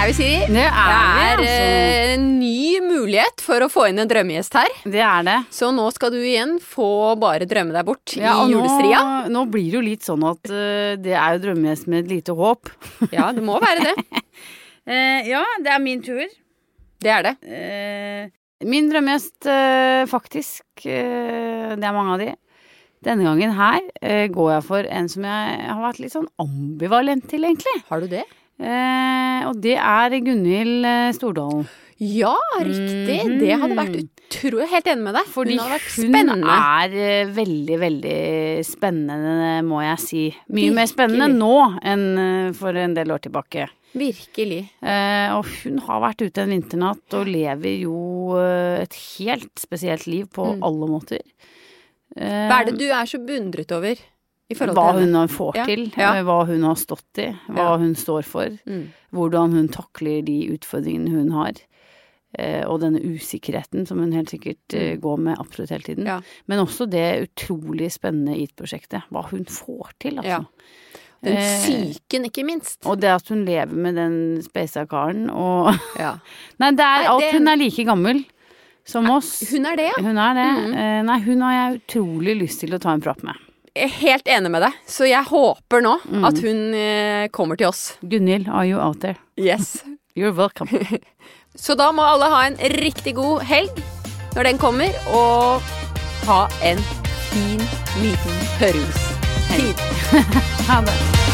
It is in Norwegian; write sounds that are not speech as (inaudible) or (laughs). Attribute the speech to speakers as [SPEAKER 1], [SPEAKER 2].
[SPEAKER 1] er vi, Siri.
[SPEAKER 2] Det er vi,
[SPEAKER 1] det er
[SPEAKER 2] altså.
[SPEAKER 1] eh, en ny mulighet for å få inn en drømmegjest her.
[SPEAKER 2] Det er det.
[SPEAKER 1] Så nå skal du igjen få bare drømme deg bort
[SPEAKER 2] Ja, og
[SPEAKER 1] i
[SPEAKER 2] nå,
[SPEAKER 1] julestria.
[SPEAKER 2] nå blir det jo litt sånn at eh, det er jo drømmegjest med et lite håp.
[SPEAKER 1] Ja, det må være det.
[SPEAKER 2] Eh, ja, det er min tur.
[SPEAKER 1] (laughs) Det er det.
[SPEAKER 2] Eh, min drømmegjest, eh, faktisk, eh, det er mange av de. Denne gangen her eh, går jeg for en som jeg har vært litt sånn ambivalent til, egentlig.
[SPEAKER 1] Har du det?
[SPEAKER 2] Eh, og det er Gunhild eh, Stordalen.
[SPEAKER 1] Ja, riktig.
[SPEAKER 2] Mhm.
[SPEAKER 1] Det hadde vært utrolig Helt enig med deg.
[SPEAKER 2] Fordi
[SPEAKER 1] hun hadde vært
[SPEAKER 2] hun
[SPEAKER 1] spennende.
[SPEAKER 2] er eh, veldig, veldig spennende, må jeg si. Mye mer spennende
[SPEAKER 1] Virkelig.
[SPEAKER 2] nå enn eh, for en del år tilbake.
[SPEAKER 1] Virkelig.
[SPEAKER 2] Eh, og hun har vært ute en vinternatt og lever jo eh, et helt spesielt liv på
[SPEAKER 1] Mm.
[SPEAKER 2] alle måter. Eh,
[SPEAKER 1] Hva er det du er så beundret over i forhold
[SPEAKER 2] hva
[SPEAKER 1] til henne?
[SPEAKER 2] hun har- får
[SPEAKER 1] Ja,
[SPEAKER 2] til,
[SPEAKER 1] ja.
[SPEAKER 2] eh, hva hun har stått i, hva
[SPEAKER 1] Ja.
[SPEAKER 2] hun står for.
[SPEAKER 1] Mm.
[SPEAKER 2] Hvordan hun takler de utfordringene hun har. eh, Og denne usikkerheten som hun helt sikkert eh, går med absolutt hele tiden.
[SPEAKER 1] Mm. Ja.
[SPEAKER 2] Men også det utrolig spennende IT-prosjektet. Hva hun får til,
[SPEAKER 1] Ja.
[SPEAKER 2] altså.
[SPEAKER 1] Den
[SPEAKER 2] Eh,
[SPEAKER 1] psyken, ikke minst.
[SPEAKER 2] Og det at hun lever med den speisa karen og (laughs)
[SPEAKER 1] Ja.
[SPEAKER 2] Nei, det er
[SPEAKER 1] Nei,
[SPEAKER 2] alt.
[SPEAKER 1] det-
[SPEAKER 2] Hun er like gammel som oss.
[SPEAKER 1] Hun Mm. er det, ja.
[SPEAKER 2] Hun er det. Eh, Nei, hun har jeg utrolig lyst til å ta en prat med.
[SPEAKER 1] Jeg er helt enig med deg. Så jeg håper nå
[SPEAKER 2] Mm.
[SPEAKER 1] at hun eh, kommer til oss.
[SPEAKER 2] Gunhild, are you out there?
[SPEAKER 1] Yes. (laughs)
[SPEAKER 2] You're welcome.
[SPEAKER 1] Så da må alle ha en riktig god helg når den kommer, og ha en fin, liten hørehus. Tid.
[SPEAKER 2] Ha det.